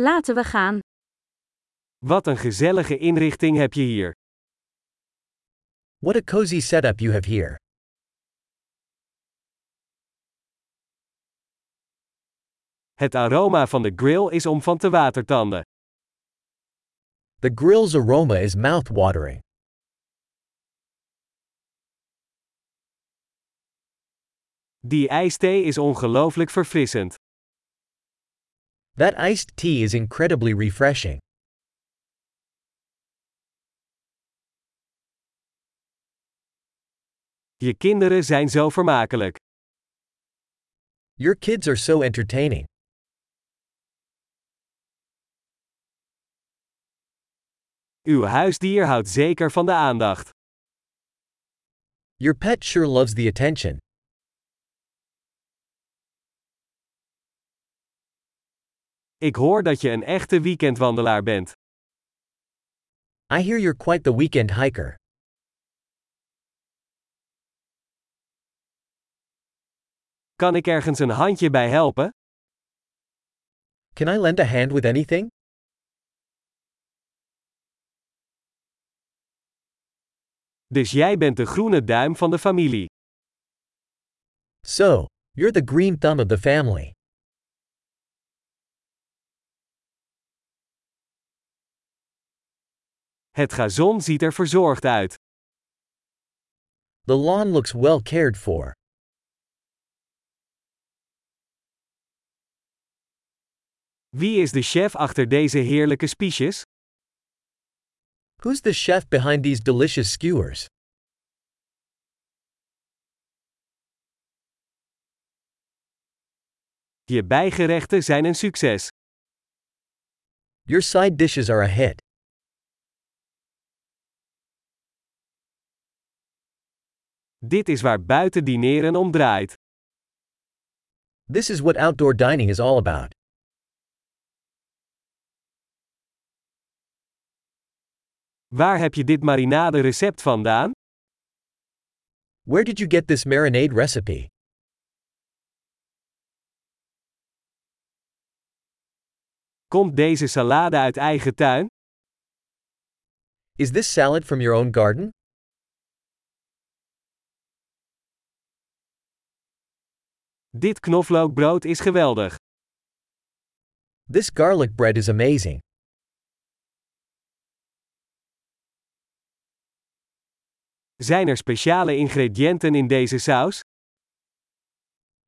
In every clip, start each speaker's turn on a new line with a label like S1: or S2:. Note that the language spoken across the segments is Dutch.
S1: Laten we gaan.
S2: Wat een gezellige inrichting heb je hier.
S3: What a cozy setup you have here.
S2: Het aroma van de grill is om van te watertanden.
S3: The grill's aroma is mouth-watering.
S2: Die ijsthee is ongelooflijk verfrissend.
S3: That iced tea is incredibly refreshing.
S2: Je kinderen zijn zo vermakelijk.
S3: Your kids are so entertaining.
S2: Uw huisdier houdt zeker van de aandacht.
S3: Your pet sure loves the attention.
S2: Ik hoor dat je een echte weekendwandelaar bent.
S3: I hear you're quite the weekend hiker.
S2: Kan ik ergens een handje bij helpen?
S3: Can I lend a hand with anything?
S2: Dus jij bent de groene duim van de familie.
S3: So, you're the green thumb of the family.
S2: Het gazon ziet er verzorgd uit.
S3: The lawn looks well cared for.
S2: Wie is de chef achter deze heerlijke spiesjes?
S3: Who's the chef behind these delicious skewers?
S2: Je bijgerechten zijn een succes.
S3: Your side dishes are a hit.
S2: Dit is waar buiten dineren om draait.
S3: This is what outdoor dining is all about.
S2: Waar heb je dit marinade recept vandaan?
S3: Where did you get this marinade recipe?
S2: Komt deze salade uit eigen tuin?
S3: Is this salad from your own garden?
S2: Dit knoflookbrood is geweldig.
S3: This garlic bread is amazing.
S2: Zijn er speciale ingrediënten in deze saus?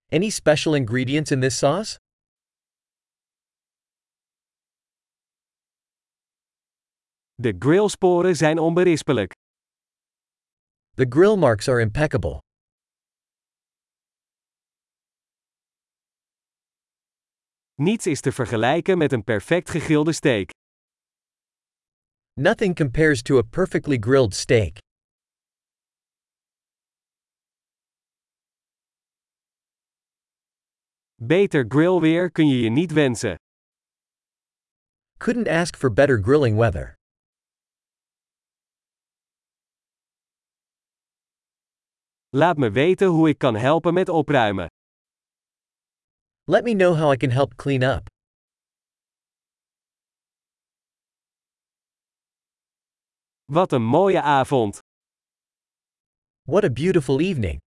S3: Any special ingredients in this sauce?
S2: De grillsporen zijn onberispelijk.
S3: The grill marks are impeccable.
S2: Niets is te vergelijken met een perfect gegrilde steak.
S3: Nothing compares to a perfectly grilled steak.
S2: Beter grillweer kun je je niet wensen.
S3: Couldn't ask for better grilling weather.
S2: Laat me weten hoe ik kan helpen met opruimen.
S3: Let me know how I can help clean up.
S2: Wat een mooie avond!
S3: What a beautiful evening!